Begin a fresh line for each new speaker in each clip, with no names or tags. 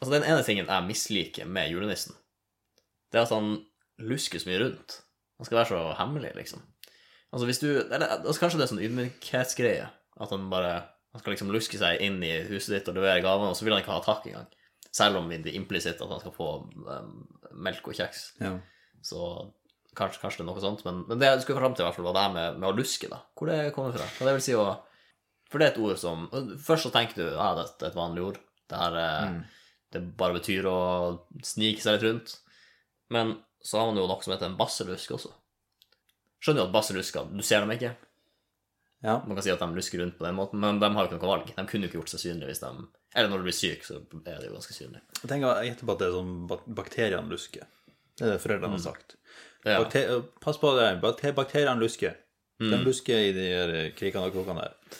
Altså, den ene tingen jeg misliker med julenissen, det er at han lusker så mye rundt. Han skal være så hemmelig, liksom. Altså, hvis du eller, altså, Kanskje det er sånn ydmykhetsgreie. At han bare Han skal liksom luske seg inn i huset ditt og levere gavene, og så vil han ikke ha tak engang. Selv om det er implisitt at han skal få eh, melk og kjeks.
Ja.
Så kanskje, kanskje det er noe sånt. Men, men det jeg skulle fram til, i hvert fall, var det her med, med å luske, da. Hvor det kommer fra. Hva det vil si å For det er et ord som Først så tenker du ja, det er et vanlig ord. Det her eh, Det bare betyr å snike seg litt rundt. Men så har man jo noe som heter en basselusk også. Skjønner jo at basselusker Du ser dem ikke.
ja.
Man kan si at de lusker rundt på den måten, men de har jo ikke noe valg. De kunne jo ikke gjort seg synlige hvis de Eller når du blir syk, så er det jo ganske synlig.
Jeg tenker, jeg gjetter på at det er sånn bak- bakteriene lusker. Det er det foreldrene har sagt.
Ja.
Bakter pass på det. Bakter bakteriene lusker. De lusker i de her krikene og krokene der.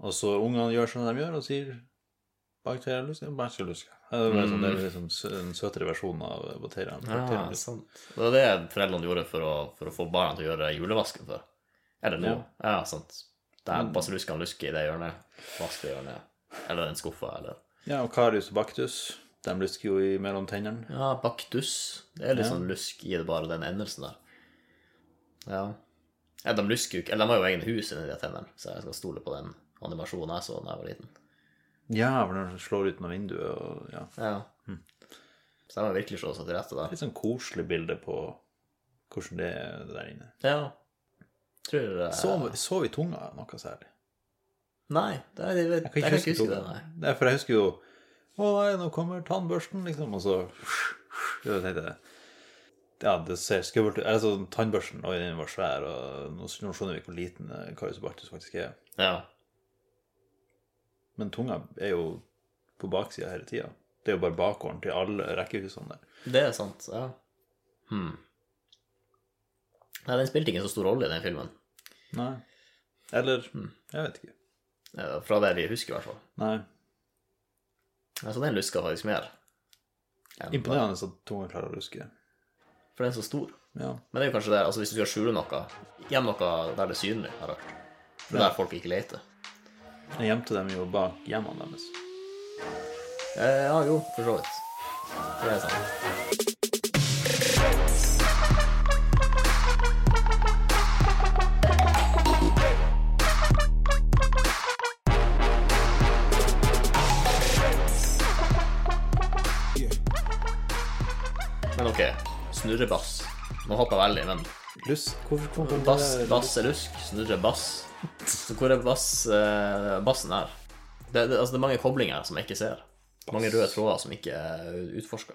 Og så ungene gjør som de gjør, og sier bakteriene lusker, bakteriene lusker. Det er bare sånn, det er liksom sø- en søtere versjon av bakteriene.
Ja,
bakteriene lusker.
sant. Det var det foreldrene gjorde for å, for å få barna til å gjøre julevasken før. Eller nå. Ja, Mm. sant. Det er basilluskene lusker i det hjørnet. Vask det hjørnet. Eller den skuffa, eller
ja, og Karius og Baktus, de lusker jo i mellom tennene.
Ja, baktus. Det er litt
Ja.
sånn lusk i det, bare den endelsen der. Ja. ja de lusker jo ikke Eller de har jo egne hus inni de tennene, så jeg skal stole på den animasjonen jeg så da jeg var liten.
Ja, for de slår ut noen vinduer og ja.
Ja. Så de har virkelig slått seg til rette der.
Litt sånn koselig bilde på hvordan det er der inne.
Ja. Tror eh,
Sov, sov i tunga noe særlig.
Nei, det er, jeg,
Jeg kan ikke huske,
det.
det.
Nei.
Nei, for jeg husker jo Å nei, nå kommer tannbørsten, liksom. Og så Da tenkte jeg Ja, det ser skummelt ut. Altså, tannbørsten Oi, den var svær, og nå nå skjønner vi hvor liten eh, Karius og Bartus faktisk er.
Ja.
Men tunga er jo på baksida hele tida. Det er jo bare bakgården til alle rekkehusene der.
Det er sant, ja. Hmm. Nei, den spilte ikke en så stor rolle i den filmen.
Nei. Eller hm, Jeg vet ikke.
Eh, Fra det vi husker, i hvert fall.
Nei.
Ja, Så den luska faktisk mer. enn-
Imponerende at tunga klarer å luske.
For den er så stor.
Ja.
Men det er jo kanskje det, altså hvis du skal skjule noe, gjem noe der det er synlig, har jeg hørt. For det er der folk ikke leter.
Jeg gjemte dem jo bak hjemmene deres.
Eh, ja, jo, for så vidt. Det er sant. Men ok, snurrebass. Nå hopper jeg veldig, men
Lusk Hvorfor kom kom-
bass, basselusk, snurrebass. Så hvor er bass, eh, bassen her? Det, det, altså, det er mange koblinger her som jeg ikke ser. Mange røde tråder som ikke er utforska.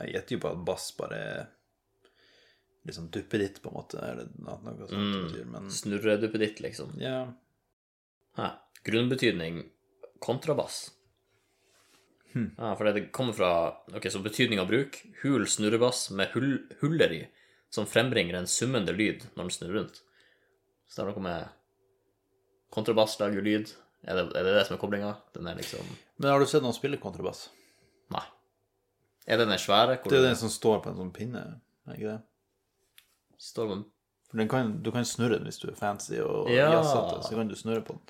Jeg gjetter jo på at bass bare er litt sånn duppeditt, på en måte, eller noe noe sånt.
Mm.
som du sier, Men
Snurreduppeditt, liksom.
ja,
Hæ. Grunnbetydning kontrabass. Ja, for det kommer fra Ok, så betydning av bruk. Hul snurrebass med hull, huller i, som frembringer en summende lyd når den snurrer rundt. Så det er noe med Kontrabass lager jo lyd. Er det, er det det som er koblinga? Den er liksom
Men har du sett noen spille kontrabass?
Nei. Er det den svære hvor
Det er jo
det
den som står på en sånn pinne, er ikke det?
står om
For den kan, du kan snurre den hvis du er fancy og
Ja.
jazzete, så kan du snurre på den.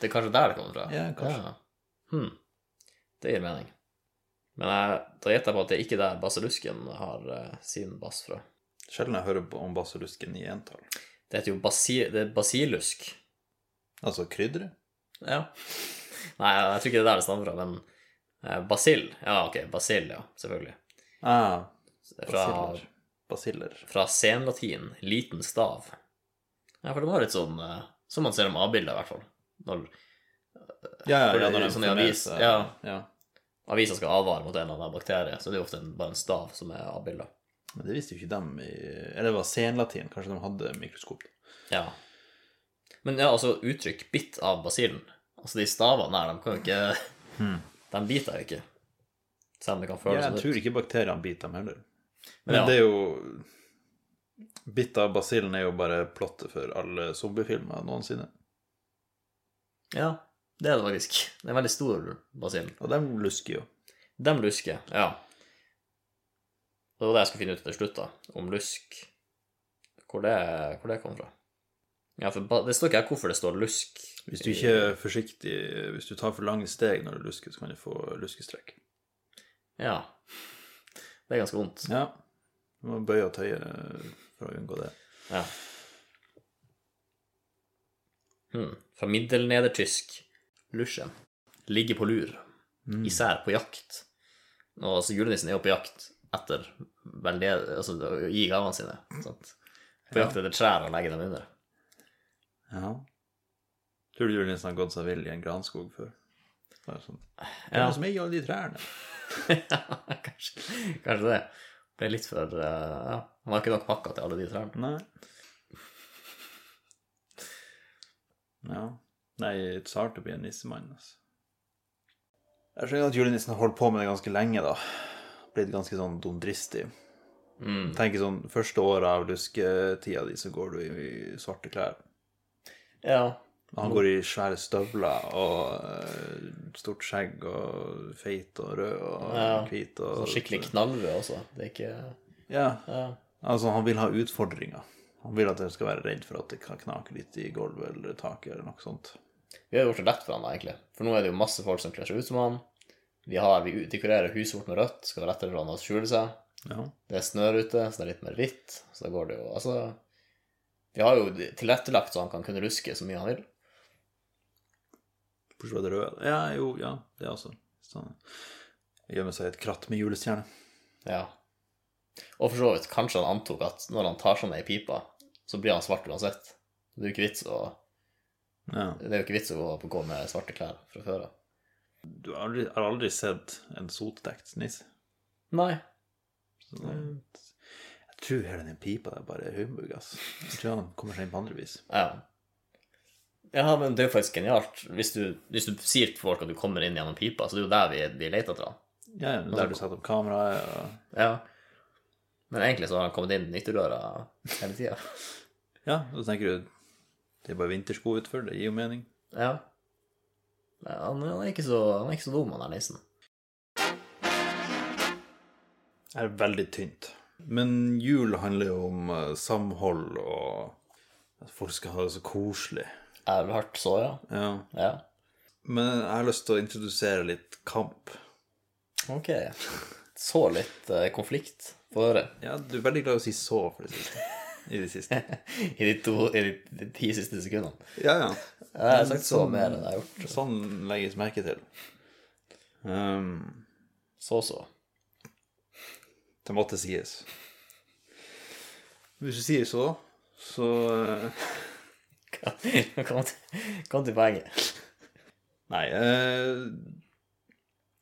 Det er kanskje der det kommer fra?
Ja, kanskje.
Hmm. Det gir mening. Men jeg, da gjetter jeg på at det er ikke der Basillusken har eh, sin bass fra.
Sjelden jeg hører om basillusken i entall.
Det heter jo basi, det er basilusk.
Altså krydderet.
Ja. Nei, jeg tror ikke det er der det stammer fra, men eh, basill Ja, ok, basill, ja, selvfølgelig.
Ah,
Det er Fra,
basiller. Basiller.
fra senlatin, liten stav. Ja, for det var litt sånn eh, Som man ser om avbilder, i hvert fall. Når
Ja, ja,
For
ja.
det er
Når
jo
de
sånn i
får med
avis,
seg-
ja.
ja.
avisa skal advare mot en eller annen bakterie, så det er jo ofte en, bare en stav som er avbilda.
Men det visste jo ikke dem i Eller det var senlatin, kanskje de hadde mikroskop.
Ja. Men ja, altså, uttrykk bitt av basillen. Altså, de stavene her, de kan jo ikke De biter jo ikke. Selv om det kan føles
Hmm. Ja, jeg
sånn.
tror ikke bakteriene biter dem heller. Men
Ja.
det er jo Bitt av basillen er jo bare plottet for alle zombiefilmer noensinne.
Ja, det er det faktisk. Det er en veldig stor basill.
Og dem lusker jo.
De lusker, ja. Det var det jeg skulle finne ut til slutt, da. Om lusk. Hvor det, hvor det kom fra. Ja, for ba- det står ikke her hvorfor det står lusk. Eh.
Hvis du ikke er forsiktig, hvis du tar for lange steg når du lusker, så kan du få luskestrekk.
Ja. Det er ganske vondt.
Ja. Du må bøye og tøye eh, for å unngå det.
Ja. Hmm. Fra middelnedertysk lusjen. Ligge på lur.
Mm,
Især på jakt. Og altså, julenissen er jo på jakt etter velded... Altså å gi gavene sine. Sant? På jakt etter trær og legge dem under.
Ja. Tror du julenissen har gått seg vill i en granskog før? Bare sånn. Hvem er
Ja.
det som er i alle de trærne?
kanskje, kanskje det. Ble litt for eh, Ja, han har ikke nok pakka til alle de trærne.
Nei. Ja. Nei, it's hard to be a nissemann, altså. Jeg skjønner at julenissen har holdt på med det ganske lenge, da. Blitt ganske sånn dumdristig.
Mm.
Tenker sånn, første året av lusketida di, så går du i, i svarte klær.
Ja.
Han går i svære støvler og eh, stort skjegg og feit og rød og
Ja,
hvit og
Sånn skikkelig knallrød også. Det er ikke
Ja.
Ja.
Altså, han vil ha utfordringer. Han vil at jeg skal være redd for at det kan knake litt i gulvet eller taket eller noe sånt.
Vi har gjort det lett for han da, egentlig. For nå er det jo masse folk som kler seg ut som han. Vi, har, vi dekorerer huset vårt med rødt, skal være lettere for han å skjule seg.
Ja.
Det er snør ute, så det er litt mer hvitt. Så da går det jo Altså Vi har jo tilrettelagt så han kan kunne ruske så mye han vil.
Bortsett fra det røde. Ja, jo, ja, det også. Sånn. Gjemmer seg i et kratt med julestjerne.
Ja. Og for så vidt, kanskje han antok at når han tar seg ned i pipa, så blir han svart uansett. Det er jo ikke vits å,
Ja.
det er jo ikke vits å gå, gå med svarte klær fra før av.
Du har aldri, har aldri sett en sotdekt nisse.
Nei.
Så det- Jeg tror hele den pipa der bare er humbug, ass. Jeg tror han kommer seg inn på andre vis.
Ja. ja, men det er jo faktisk genialt. Hvis du, hvis du sier til folk at du kommer inn gjennom pipa, så det er jo der vi, vi leter etter han.
Ja, ja, der du setter opp kameraet og
Ja. Men egentlig så har han kommet inn ytterdøra hele tida.
Ja, og så tenker du det er bare vintersko utfor, det gir jo mening.
Ja. Nei, Han, han, er ikke så, han er ikke så dum, han der nissen.
Det er veldig tynt. Men jul handler jo om eh, samhold og at folk skal ha det så koselig.
Ærhardt så, ja.
Ja.
ja.
Men jeg har lyst til å introdusere litt kamp.
Ok. Så litt eh, konflikt på øret
Ja, du er veldig glad i å si 'så' for det siste. I det siste.
i de, to, i de, de ti siste sekundene.
Ja, ja.
Jeg har sagt så mer enn jeg har gjort.
Sånn legges merke til. Ehm,
Så, så.
det måtte sies. Hvis du sier så, så eh,
Kom til, kom til poenget.
Nei. eh,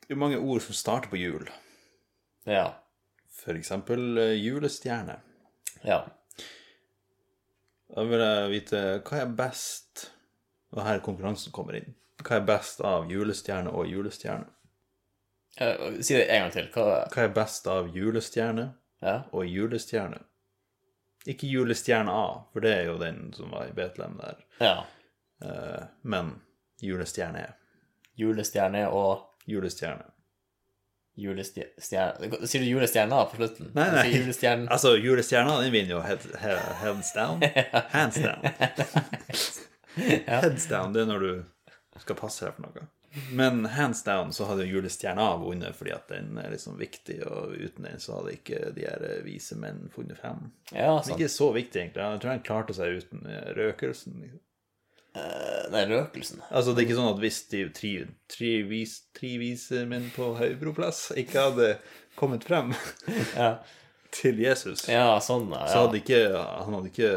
Det er mange ord som starter på jul.
Ja.
For eksempel eh, julestjerne.
Ja.
Da vil jeg vite hva er best Og her konkurransen kommer inn. Hva er best av julestjerne og julestjerne?
Eh, Si det en gang til. Hva
Hva er best av julestjerne
Ja.
og julestjerne? Ikke julestjerne A, for det er jo den som var i Betlehem der,
ja.
eh, men julestjerne E.
Julestjerne og
Julestjerne.
julestjerne Sier du julestjerna på slutten?
Nei, nei.
Du sier julestjernen
Altså, julestjerna, den vinner jo head, he- heads down. Hands down. Heads down, det er når du skal passe deg for noe. Men hands down så hadde jo julestjerna vunnet fordi at den er liksom viktig, og uten den så hadde ikke de her vise menn funnet frem.
Ja, sånn.
Det er
sant.
ikke så viktig, egentlig. Jeg tror han klarte seg uten røkelsen. liksom.
Eh, Nei, røkelsen.
Altså, det er ikke sånn at hvis de tre, tre, vis, tre vise menn på Høybroplass ikke hadde kommet frem
Ja.
til Jesus
Ja, sånn, ja.
Så hadde ikke, han hadde ikke,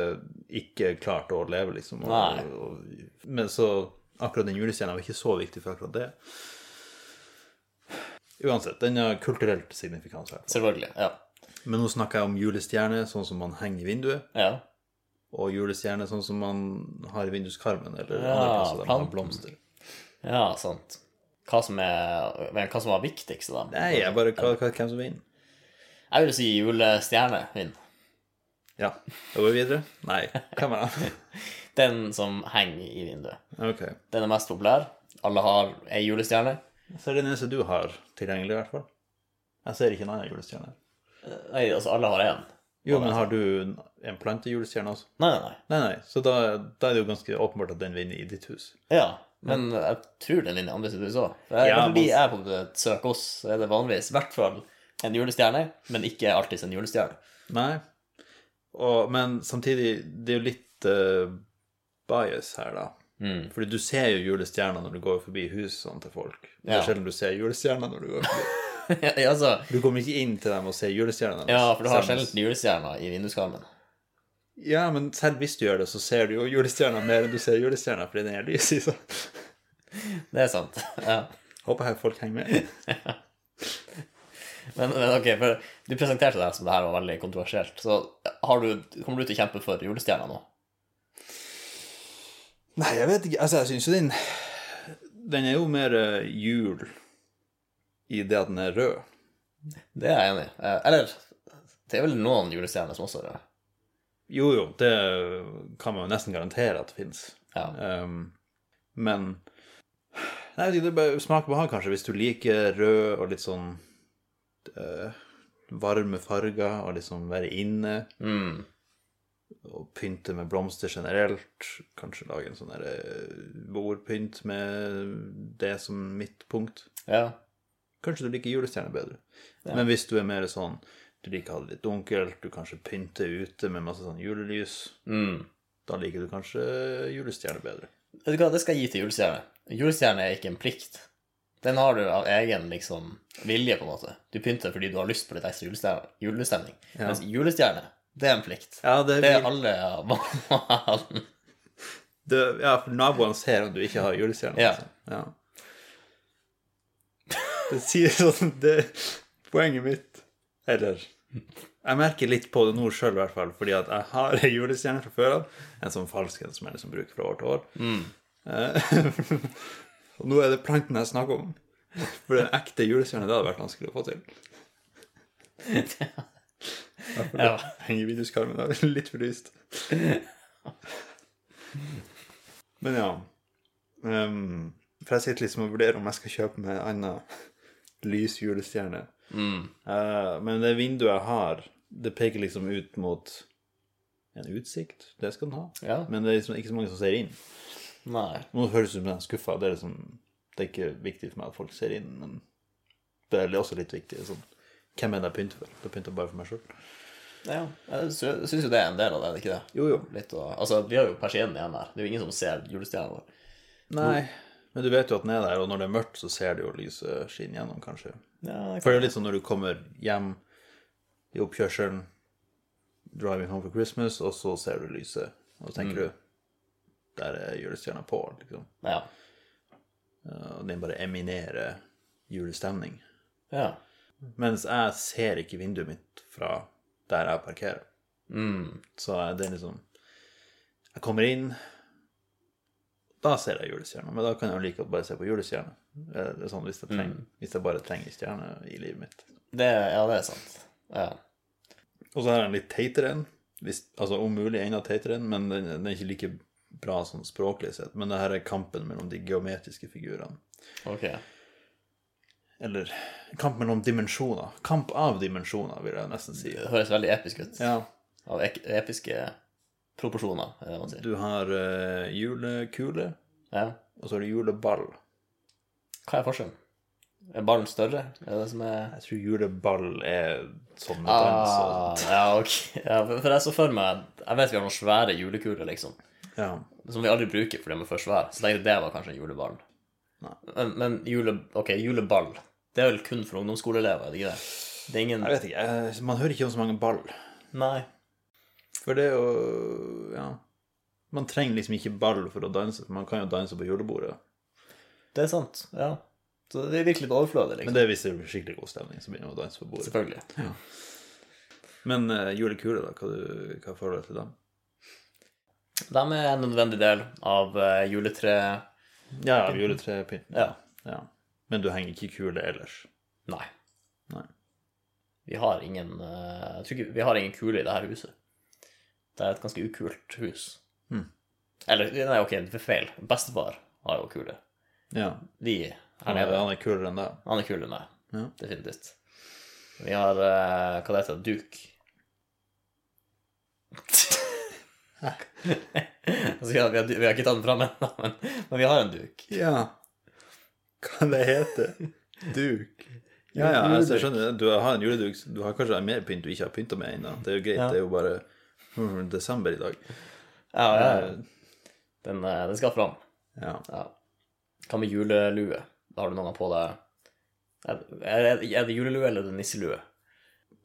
ikke klart å overleve, liksom.
Nei.
og, men så akkurat den julestjerna var ikke så viktig for akkurat det. Uansett, den har kulturelt signifikans. her.
Selvfølgelig. Ja.
Men nå snakker jeg om julestjerne sånn som man henger i vinduet,
ja.
og julestjerne sånn som man har i vinduskarmen eller
Ja,
andre plasser der man
planten.
har blomster.
Ja, sant. Hva som er men Hva som var viktigst, da?
Nei, jeg bare hva, hva, hvem som vinner.
Jeg vil si julestjerne. Min.
Ja. Da går vi videre? Nei. Kamera.
Den som henger i vinduet.
Ok.
Den er mest populær. Alle har ei julestjerne.
Så er det den eneste du har tilgjengelig, i hvert fall. Jeg ser ikke en annen julestjerne.
Nei, altså, alle har én.
Jo, men har du en- en plantejulestjerne også?
Nei, nei, nei.
Nei, nei, så da, da er det jo ganske åpenbart at den vinner i ditt hus.
Ja. Men jeg tror den linja anvises også. For jeg,
Ja,
fordi
man-
jeg på en måte søker oss, så er det vanligvis i hvert fall en julestjerne, men ikke alltid en julestjerne.
Nei. Og, men samtidig, det er jo litt eh, bias her, da.
Mm.
Fordi du ser jo julestjerner når du går forbi husene til folk. Det
Ja.
er sjelden du ser julestjerner når du går forbi.
ja, altså,
Du kommer ikke inn til dem og ser julestjernene.
ja, for du har sjelden julestjerner i vinduskarmen.
Ja, men selv hvis du gjør det, så ser du jo julestjerner mer enn du ser julestjerner, fordi den er lys i seg.
Det er sant. ja.
Håper her folk henger med.
Men, men ok, for du presenterte deg som det her var veldig kontroversielt. Så har du, kommer du til å kjempe for julestjerna nå?
Nei, jeg vet ikke. Altså, jeg syns jo den Den er jo mer eh, jul i det at den er rød.
Det er jeg enig i. Eh, Eller det er vel noen julestjerner som også er det.
Jo, jo, det kan man jo nesten garantere at det fins.
Ja.
Um, men Nei, jeg vet ikke, det er bare smak og behag, kanskje. Hvis du liker rød og litt sånn eh, varme farger, og liksom være inne
Mm.
og pynte med blomster generelt. Kanskje lage en sånn der, eh, bordpynt med det som midtpunkt.
Ja.
Kanskje du liker julestjerner bedre. Men hvis du er mer sånn du liker å ha det litt dunkelt, du kanskje pynter ute med masse sånn julelys.
Mm.
Da liker du kanskje julestjerne bedre.
Vet du hva, det skal jeg gi til julestjerne. Julestjerne er ikke en plikt. Den har du av egen liksom, vilje, på en måte. Du pynter fordi du har lyst på litt ekstra julestjerne, julestemning. Mens julestjerne, det er en plikt.
Ja, det,
Det er alle av
det- ja for naboene ser om du ikke har julestjerne.
Ja.
altså. ja. Det sier sånn det, Poenget mitt Eller Jeg merker litt på det nå sjøl, i hvert fall, fordi at jeg har ei julestjerne fra før av. En sånn falsk en som jeg liksom bruker fra år til år. Eh, og nå er det planten jeg snakker om. For den ekte julestjerna, det hadde vært vanskelig å få til.
Ja.
Henger i vinduskarmen. da. Litt for lyst. Men ja. ehm, for jeg sitter liksom og vurderer om jeg skal kjøpe meg annen lys julestjerne. Eh, men det vinduet jeg har, det peker liksom ut mot en utsikt. Det skal den ha.
Ja.
Men det er liksom ikke så mange som ser inn.
Nei.
Nå høres det ut som jeg er skuffa. Det er liksom Det er ikke viktig for meg at folk ser inn, men det er også litt viktig. Sånn. Hvem er det jeg pynter for? Da pynter jeg bare for meg sjøl.
Ja, jeg sy- syns jo det er en del av det, er det ikke det?
Jo, jo.
Litt å, altså, vi har jo persiennen igjen her. Det er jo ingen som ser julestjerna vår.
Nei. Men du vet jo at den er der, og når det er mørkt, så ser du jo lyset skinne gjennom, kanskje.
Ja,
For det er litt sånn når du kommer hjem i oppkjørselen, driving home for Christmas, og så ser du lyset, og så tenker du Der er julestjerna på, liksom.
ja.
Eh, Og den bare eminerer julestemning.
ja.
Mens jeg ser ikke vinduet mitt fra der jeg parkerer.
Mm.
Så det er liksom Jeg kommer inn, da ser jeg julestjerna. Men da kan jeg jo like godt bare se på julestjerna. Eller Sånn, hvis, jeg
Mm.
trenger, hvis jeg bare trenger stjerne i livet mitt.
Det, ja, det er sant. Ja.
Og så har jeg en litt teitere en. Hvis, altså om mulig enda teitere en, men den, den er ikke like bra sånn språklig sett. Men det her er kampen mellom de geometriske figurene.
Ok.
Eller kamp mellom dimensjoner. Kamp av dimensjoner, vil jeg nesten si.
Det høres veldig episk ut.
Ja,
Av ek episke proporsjoner, er det man sier.
Du har eh, julekule,
Ja.
og så har du juleball.
Hva er forskjellen? Er ballen større? Er det det som er
Jeg tror juleball er sånn med dans
ah,
og
Ja, ok. Ja, for for jeg så for meg Jeg vet vi har noen svære julekuler, liksom.
ja.
Som vi aldri bruker fordi de er for svære. Så tenkte jeg det var kanskje en juleball.
Nei.
Men, men jule, ok, juleball Det er vel kun for ungdomsskoleelever, er det ikke det? Det er ingen
Jeg vet ikke. eh, Man hører ikke om så mange ball.
Nei.
For det er jo Ja. Man trenger liksom ikke ball for å danse, for man kan jo danse på julebordet.
Det er sant. Ja. Så det virker litt overflødig,
Men
liksom.
det er hvis det er skikkelig god stemning, så begynner man å danse på bordet.
Selvfølgelig.
Men eh, julekule, da? Hva, du, hva får du til dem?
De er en nødvendig del av eh, juletre...
Ja, ja, juletrepynten.
Ja.
ja. Men du henger ikke kule ellers.
Nei.
Nei.
Vi har ingen eh, Jeg tror ikke vi har ingen kule i det her huset. Det er et ganske ukult hus.
Mm.
Eller, nei, ok, det er feil. Bestefar har jo kule.
Ja.
Vi her
Han er,
nede
han er kulere enn deg.
Han er kul enn meg.
Ja.
Definitivt. Vi har eh, Hva det heter Duk. Altså, vi, har, vi, har, vi har ikke tatt den fram ennå, men, men vi har en duk.
Ja. Hva det heter Duk. Ja, ja, altså, jeg skjønner det. Du har en juleduk. Du har kanskje mer pynt du ikke har pynta med ennå. Det er jo greit.
Ja.
Det er jo bare mm, desember i dag. Eh,
Ja, ja, ja. Den, eh, den skal fram.
Ja.
Ja. Hva med julelue? Da har du noen på deg er, er, er det julelue eller er det nisselue?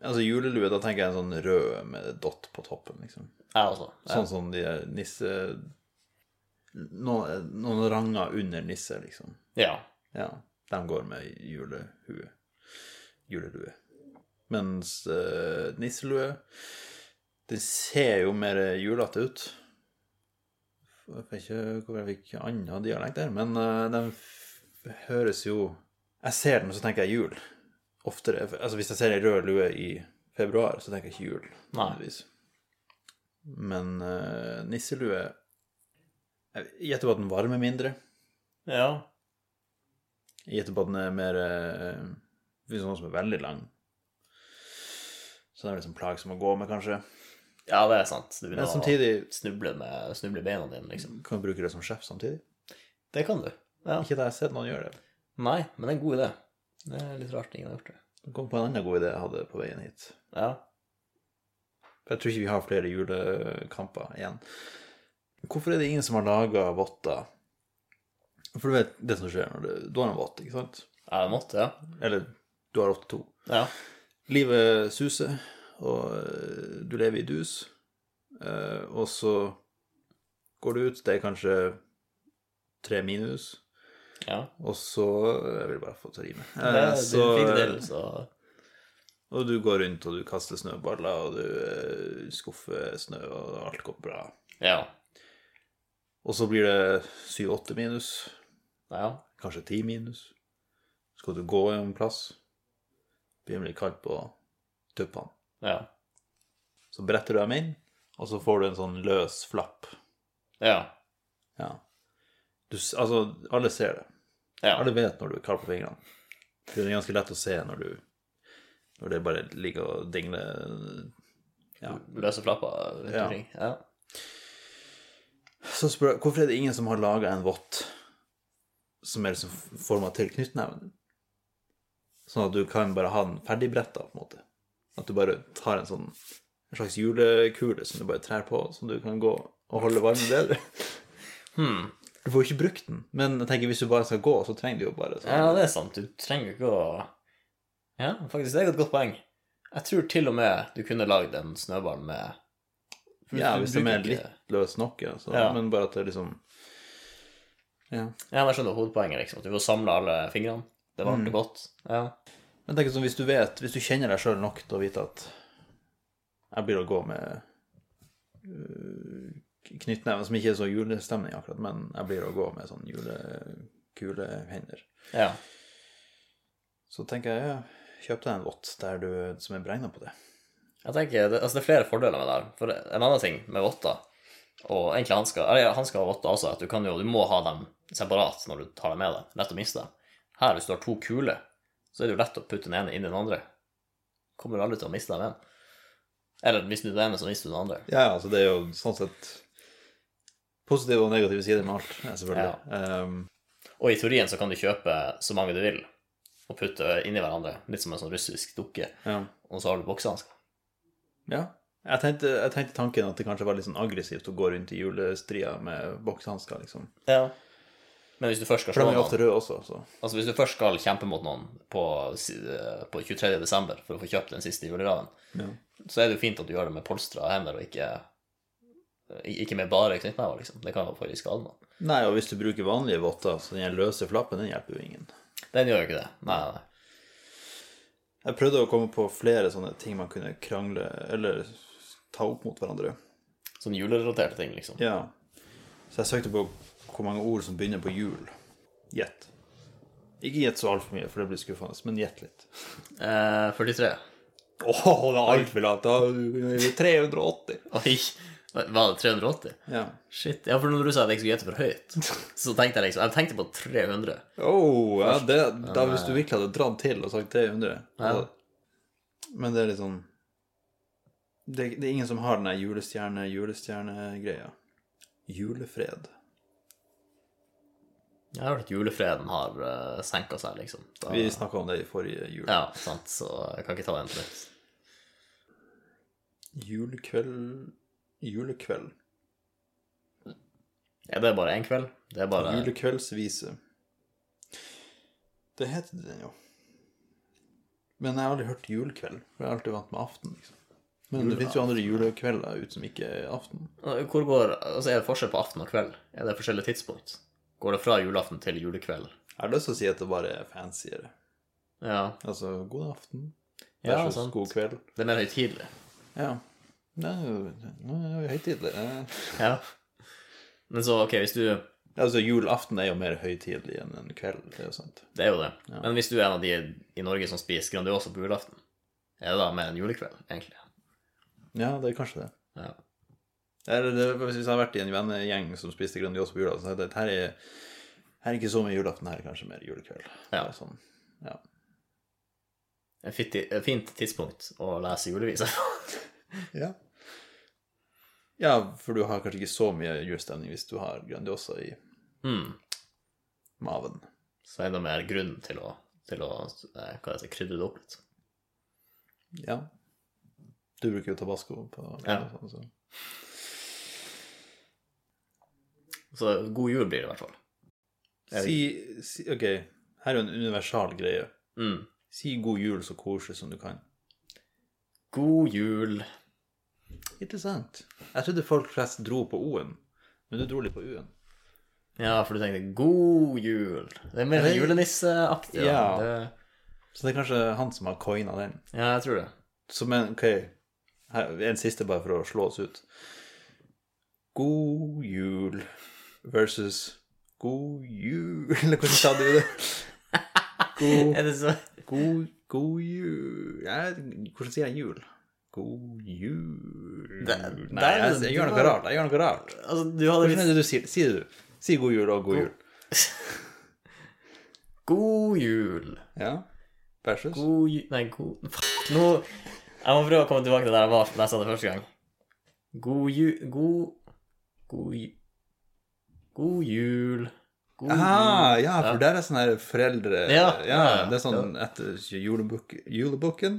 Altså julelue, da tenker jeg en sånn rød med dott på toppen, liksom.
Jeg også. Ja.
Sånn som de der nisse... Noen, noen ranger under nisse, liksom.
ja.
Ja, de går med julehue. Julelue. Mens eh, nisselue, det ser jo mer julete ut. Jeg vet ikke hvorfor jeg fikk annen dialekt der, men eh, de f- høres jo... Jeg ser den, så tenker jeg jul. Oftere, altså hvis jeg ser en rød lue i februar, så tenker jeg ikke jul.
Nei.
nødvendigvis. Men eh, nisselue, jeg gjetter på at den varmer mindre.
ja.
Jeg gjetter på at den er mer eh, Hvis noen som er veldig lang. Så den er liksom plagsom å gå med, kanskje.
Ja, det er sant. Du
Men
begynner å
samtidig
snuble, med, snuble i beina dine, liksom.
kan du bruke det som sjef samtidig.
Det kan du. Ja.
Ikke at jeg har sett noen gjøre det.
Nei, men det er en god idé. Det er litt rart ingen har gjort det.
Jeg kom på en annen god idé jeg hadde på veien hit.
Ja.
For jeg tror ikke vi har flere julekamper igjen. Hvorfor er det ingen som har laga votter? For du vet det som skjer når du, du har en vott, ikke sant?
Ja, det måtte, ja.
Eller du har ofte to.
Ja.
Livet suser, og øh, du lever i dus. Eh, Og så går du ut, det er kanskje tre minus,
ja.
og så Jeg vil bare få til å rime. Eh,
Det, du
så- eh,
fikk det til, så
og du går rundt, og du kaster snøballer, og du eh, skuffer snø, og alt går bra.
Ja.
Og så blir det syv-åtte minus,
Ja.
kanskje ti minus. Så skal du gå en plass. Begynner å bli kaldt på tuppene.
Ja.
Så bretter du dem inn, og så får du en sånn løs flapp.
Ja.
Ja. Du, s- altså, alle ser det.
ja.
Alle vet når du er kald på fingrene. Det er ganske lett å se når du Når det bare ligger og dingler ja.
Løse flapper rundt
Ja.
omkring. Ja.
Så spør jeg hvorfor er det ingen som har laga en vott som er liksom forma til knyttneven? Sånn at du kan bare ha den ferdigbretta, på en måte. At du bare tar en sånn en slags julekule som du bare trær på, så du kan gå og holde varmen bedre.
Hmm.
Du får jo ikke brukt den, men jeg tenker hvis du bare skal gå, så trenger du jo bare sånn.
Ja, det er sant. Du trenger jo ikke å Ja, faktisk, det er et godt poeng. Jeg tror til og med du kunne lagd en snøball med For
Ja,
du
hvis de
bruker
er
ikke-
litt løs nok, ja, så,
Ja.
men bare at det liksom Ja.
Ja, men jeg skjønner hovedpoenget, liksom. At du får samla alle fingrene. Det
Mm.
varte godt. Ja.
Men tenk sånn, hvis du vet, hvis du kjenner deg sjøl nok til å vite at jeg blir å gå med øh, knyttneven, som ikke er så julestemning akkurat, men jeg blir å gå med sånn julekulehender,
ja.
så tenker jeg ja, kjøp deg en vott der du, som er beregna på det.
Jeg tenker, det, altså det er flere fordeler med det her. For en annen ting med votter, og egentlig hansker Eller ja, hansker og votter også, at du kan jo Du må ha dem separat når du tar dem med deg. Lett å miste dem. Her, hvis du har to kuler, så er det jo lett å putte den ene inn i den andre. Kommer du aldri til å miste dem igjen. Eller hvis du den ene, så mister du den andre.
Ja, altså det er jo sånn sett positive og negative sider med alt, ja, selvfølgelig. Ehm,
Og i teorien så kan du kjøpe så mange du vil, og putte inni hverandre. Litt som en sånn russisk dukke.
ja.
Og så har du boksehansker.
ja. Jeg, tenkte, jeg tenkte tanken at det kanskje var litt sånn aggressivt å gå rundt i julestria med boksehansker, liksom.
Ja. Men hvis du først skal
For
slå
de er jo
noen
ofte røde også, så.
Altså Hvis du først skal kjempe mot noen på, si- på 23. desember for å få kjøpt den siste julegaven,
Ja.
så er det jo fint at du gjør det med polstra hender og ikke, ikke med bare knyttnever. Liksom. Det kan jo få i skaden. da.
Nei, og hvis du bruker vanlige votter, så den løse flappen, den hjelper jo ingen.
Den gjør jo ikke det. Nei, nei, nei.
Jeg prøvde å komme på flere sånne ting man kunne krangle, eller ta opp mot hverandre.
Sånn julerelaterte ting, liksom.
Ja. Så jeg søkte på hvor mange ord som begynner på jul. Gjett. Ikke gjett så altfor mye, for det blir skuffende, men gjett litt.
Eh, 43.
Åh, det er altfor lavt! Da er det 380.
Oi! Var det 380?
Ja.
Shit. Ja, for når du sa at jeg skulle gjette for høyt, så tenkte jeg liksom Jeg tenkte på 300.
Oh, ja, det, da hvis du virkelig hadde dratt til og sagt 300
Ja.
Men det er litt sånn det, det er ingen som har den der julestjerne-julestjerne-greia. Julefred.
Jeg har hørt at julefreden har uh, senka seg, liksom. Da,
Vi snakka om det i forrige jul.
ja, sant, så jeg kan ikke ta den på nytt.
Julekveld Julekveld.
Er det bare én kveld? Det er bare
Julekveldsvise. Det heter den jo. Men jeg har aldri hørt julekveld, for jeg er alltid vant med aften. liksom. Men det fins jo andre julekvelder ut som ikke er aften.
Hvor går Altså, er det forskjell på aften og kveld? Er det forskjellige tidspunkt? Går det fra julaften til julekveld?
Jeg har lyst til å si at det bare er fancyere.
Ja.
Altså god aften
Ja,
versus
sant.
god kveld.
Det er mer høytidelig.
Ja. Nå er jo- nå er jo høytidelig. eh.
Ja. Men så, OK, hvis du
Altså, julaften er jo mer høytidelig enn en kveld, det er jo sant.
Det er jo det. Men hvis du er en av de i Norge som spiser Grandiosa på julaften, er det da mer en julekveld, egentlig?
Ja, det er kanskje det.
Ja.
Eller det, hvis jeg hadde vært i en vennegjeng som spiste Grandiosa på julaften, så hadde jeg tenkt her er, her er ikke så mye julaften, her er kanskje mer julekveld.
Ja.
Bare Sånn. ja.
Et fitti- et fint tidspunkt å lese juleviser på.
ja. Ja, for du har kanskje ikke så mye julestemning hvis du har Grandiosa i
mm.
maven.
Så er det mer grunn til å, til å eh, hva heter det, krydre det opp litt.
Ja. Du bruker jo tabasco på
Ja.
sånn, så.
Så god jul blir det i hvert fall. Jeg-
si, si OK, her er jo en universal greie.
Mm.
Si god jul så koselig som du kan.
God jul.
Interessant. Jeg trodde folk flest dro på O-en, men du dro litt på U-en.
Ja, for du tenkte 'god jul'. Det er mer
Nei.
julenisseaktig.
Ja.
det-
Så det er kanskje han som har coina den.
ja, jeg tror det.
Så men, ok, her, en siste bare for å slå oss ut. God jul versus god jul Eller hvordan sa du det? God,
Er det så...
god, god jul Nei, Hvordan sier jeg jul? God jul
Det-
Nei,
der-
jeg, jeg gjør noe rart. Jeg gjør noe rart.
Altså, du hadde
Hvordan
visst
er det du sier? Si det, du. Si god jul og god jul.
'god jul'.
Ja. Versus.
God jul Nei, god Fuck, Nå Jeg må prøve å komme tilbake til der jeg var da jeg sa det første gang. God jul God God jul God jul. God jul.
Ah, ja, for der er sånn her foreldre ja,
Ja, ja,
Det er sånn etter julebok, julebukken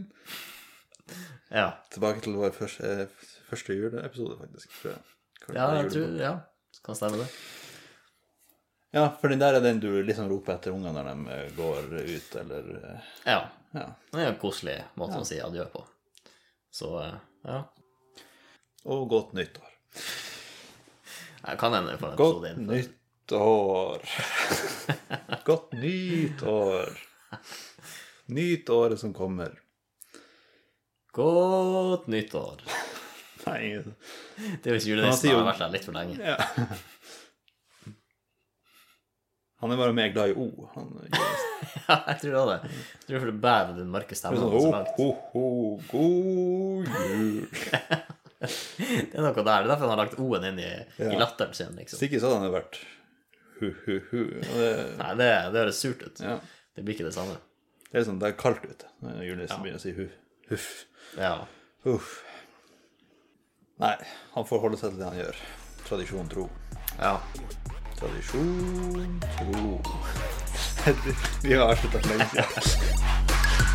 Ja.
Tilbake til vår første, eh, første juleepisode, faktisk. Tror jeg. Kanskje
ja,
det er
jeg tror
julebok.
Ja, kan stemme det.
ja, for den der er den du liksom roper etter ungene når de eh, går ut, eller eh,
Ja.
Ja.
Det er en koselig måte å si adjø på. Så eh, ja.
Og godt nyttår.
Jeg kan hende for en
Godt
episode inn.
nyttår. godt nyttår. Nyt året som kommer.
Godt nyttår.
Nei
Det er hvis
Han sier
julenissen
jo-
har vært der litt for lenge.
ja. Han er bare mer glad i O. Han er
Ja, jeg tror også det. Jeg tror for det bærer den mørke stemmen
sånn
så
ho,
langt.
ho, ho, god jul.
Det er noe der. Det er derfor han har lagt O-en inn i, i
Ja.
latteren sin. liksom.
Hvis ikke så hadde han jo vært hu, hu, hu. Og det,
Nei, det, det høres surt ut.
ja.
Det blir ikke det samme.
det er sånn, det er kaldt ute når julenissen begynner å si hu, huff,
Ja.
huff. Nei, han får holde seg til det han gjør. Tradisjon tro.
ja.
Tradisjon tro. Vi har avslutta for lenge siden.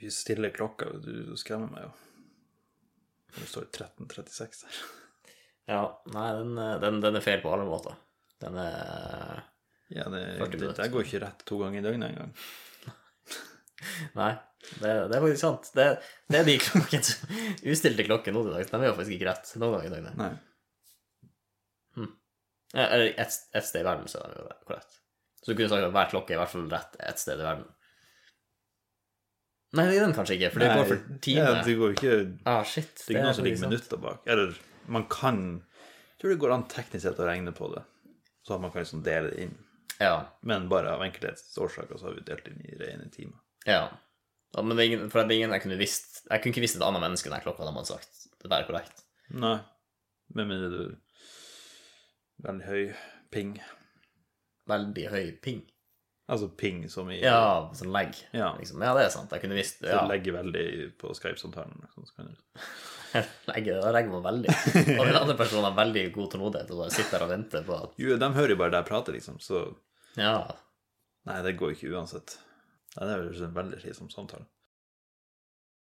Vi stiller klokka, du skremmer meg jo. Det står 13.36 her.
ja. Nei, den, eh, den, den er feil på alle måter. Den er
Ja, det,
40
det,
minutter.
det går ikke rett to ganger i døgnet engang.
Nei. Det, det er faktisk sant. Det, det er de klokken som ustilte klokker nå til dags. De er jo faktisk ikke rett noen gang i døgnet.
Nei.
Ja, Eller ett et sted i verden, så er de jo korrekt. Så du kunne sagt at hver klokke er i hvert fall rett ett sted i verden. Nei, det er den kanskje ikke, for det
Nei,
går for time.
Ja, det går ikke
Ah, shit.
Det er ikke noen som
faktisk
ligger
sant.
minutter bak. Eller man kan Jeg tror det går an teknisk sett å regne på det, så at man kan liksom dele det inn.
Ja.
Men bare av enkelhetsårsaker så har vi delt inn i rene timer.
Ja. ja men det er ingen, for det er ingen jeg kunne visst Jeg kunne ikke visst et annet menneske den klokka de hadde sagt det der er korrekt.
Nei. Med mindre du Veldig høy ping.
Veldig høy ping.
Altså ping som i
Ja, sånn legg.
Ja.
Liksom. ja, det er sant. Jeg kunne visst
Du
ja.
legger veldig på Skype-samtalen. Liksom, så kan du-
legge, Da legger man veldig. Og den andre personen har veldig god tålmodighet og bare sitter der og venter på at
Jo, de hører jo bare deg prate, liksom, så
Ja.
Nei, det går ikke uansett. Nei, det er jo en veldig slitsom samtale.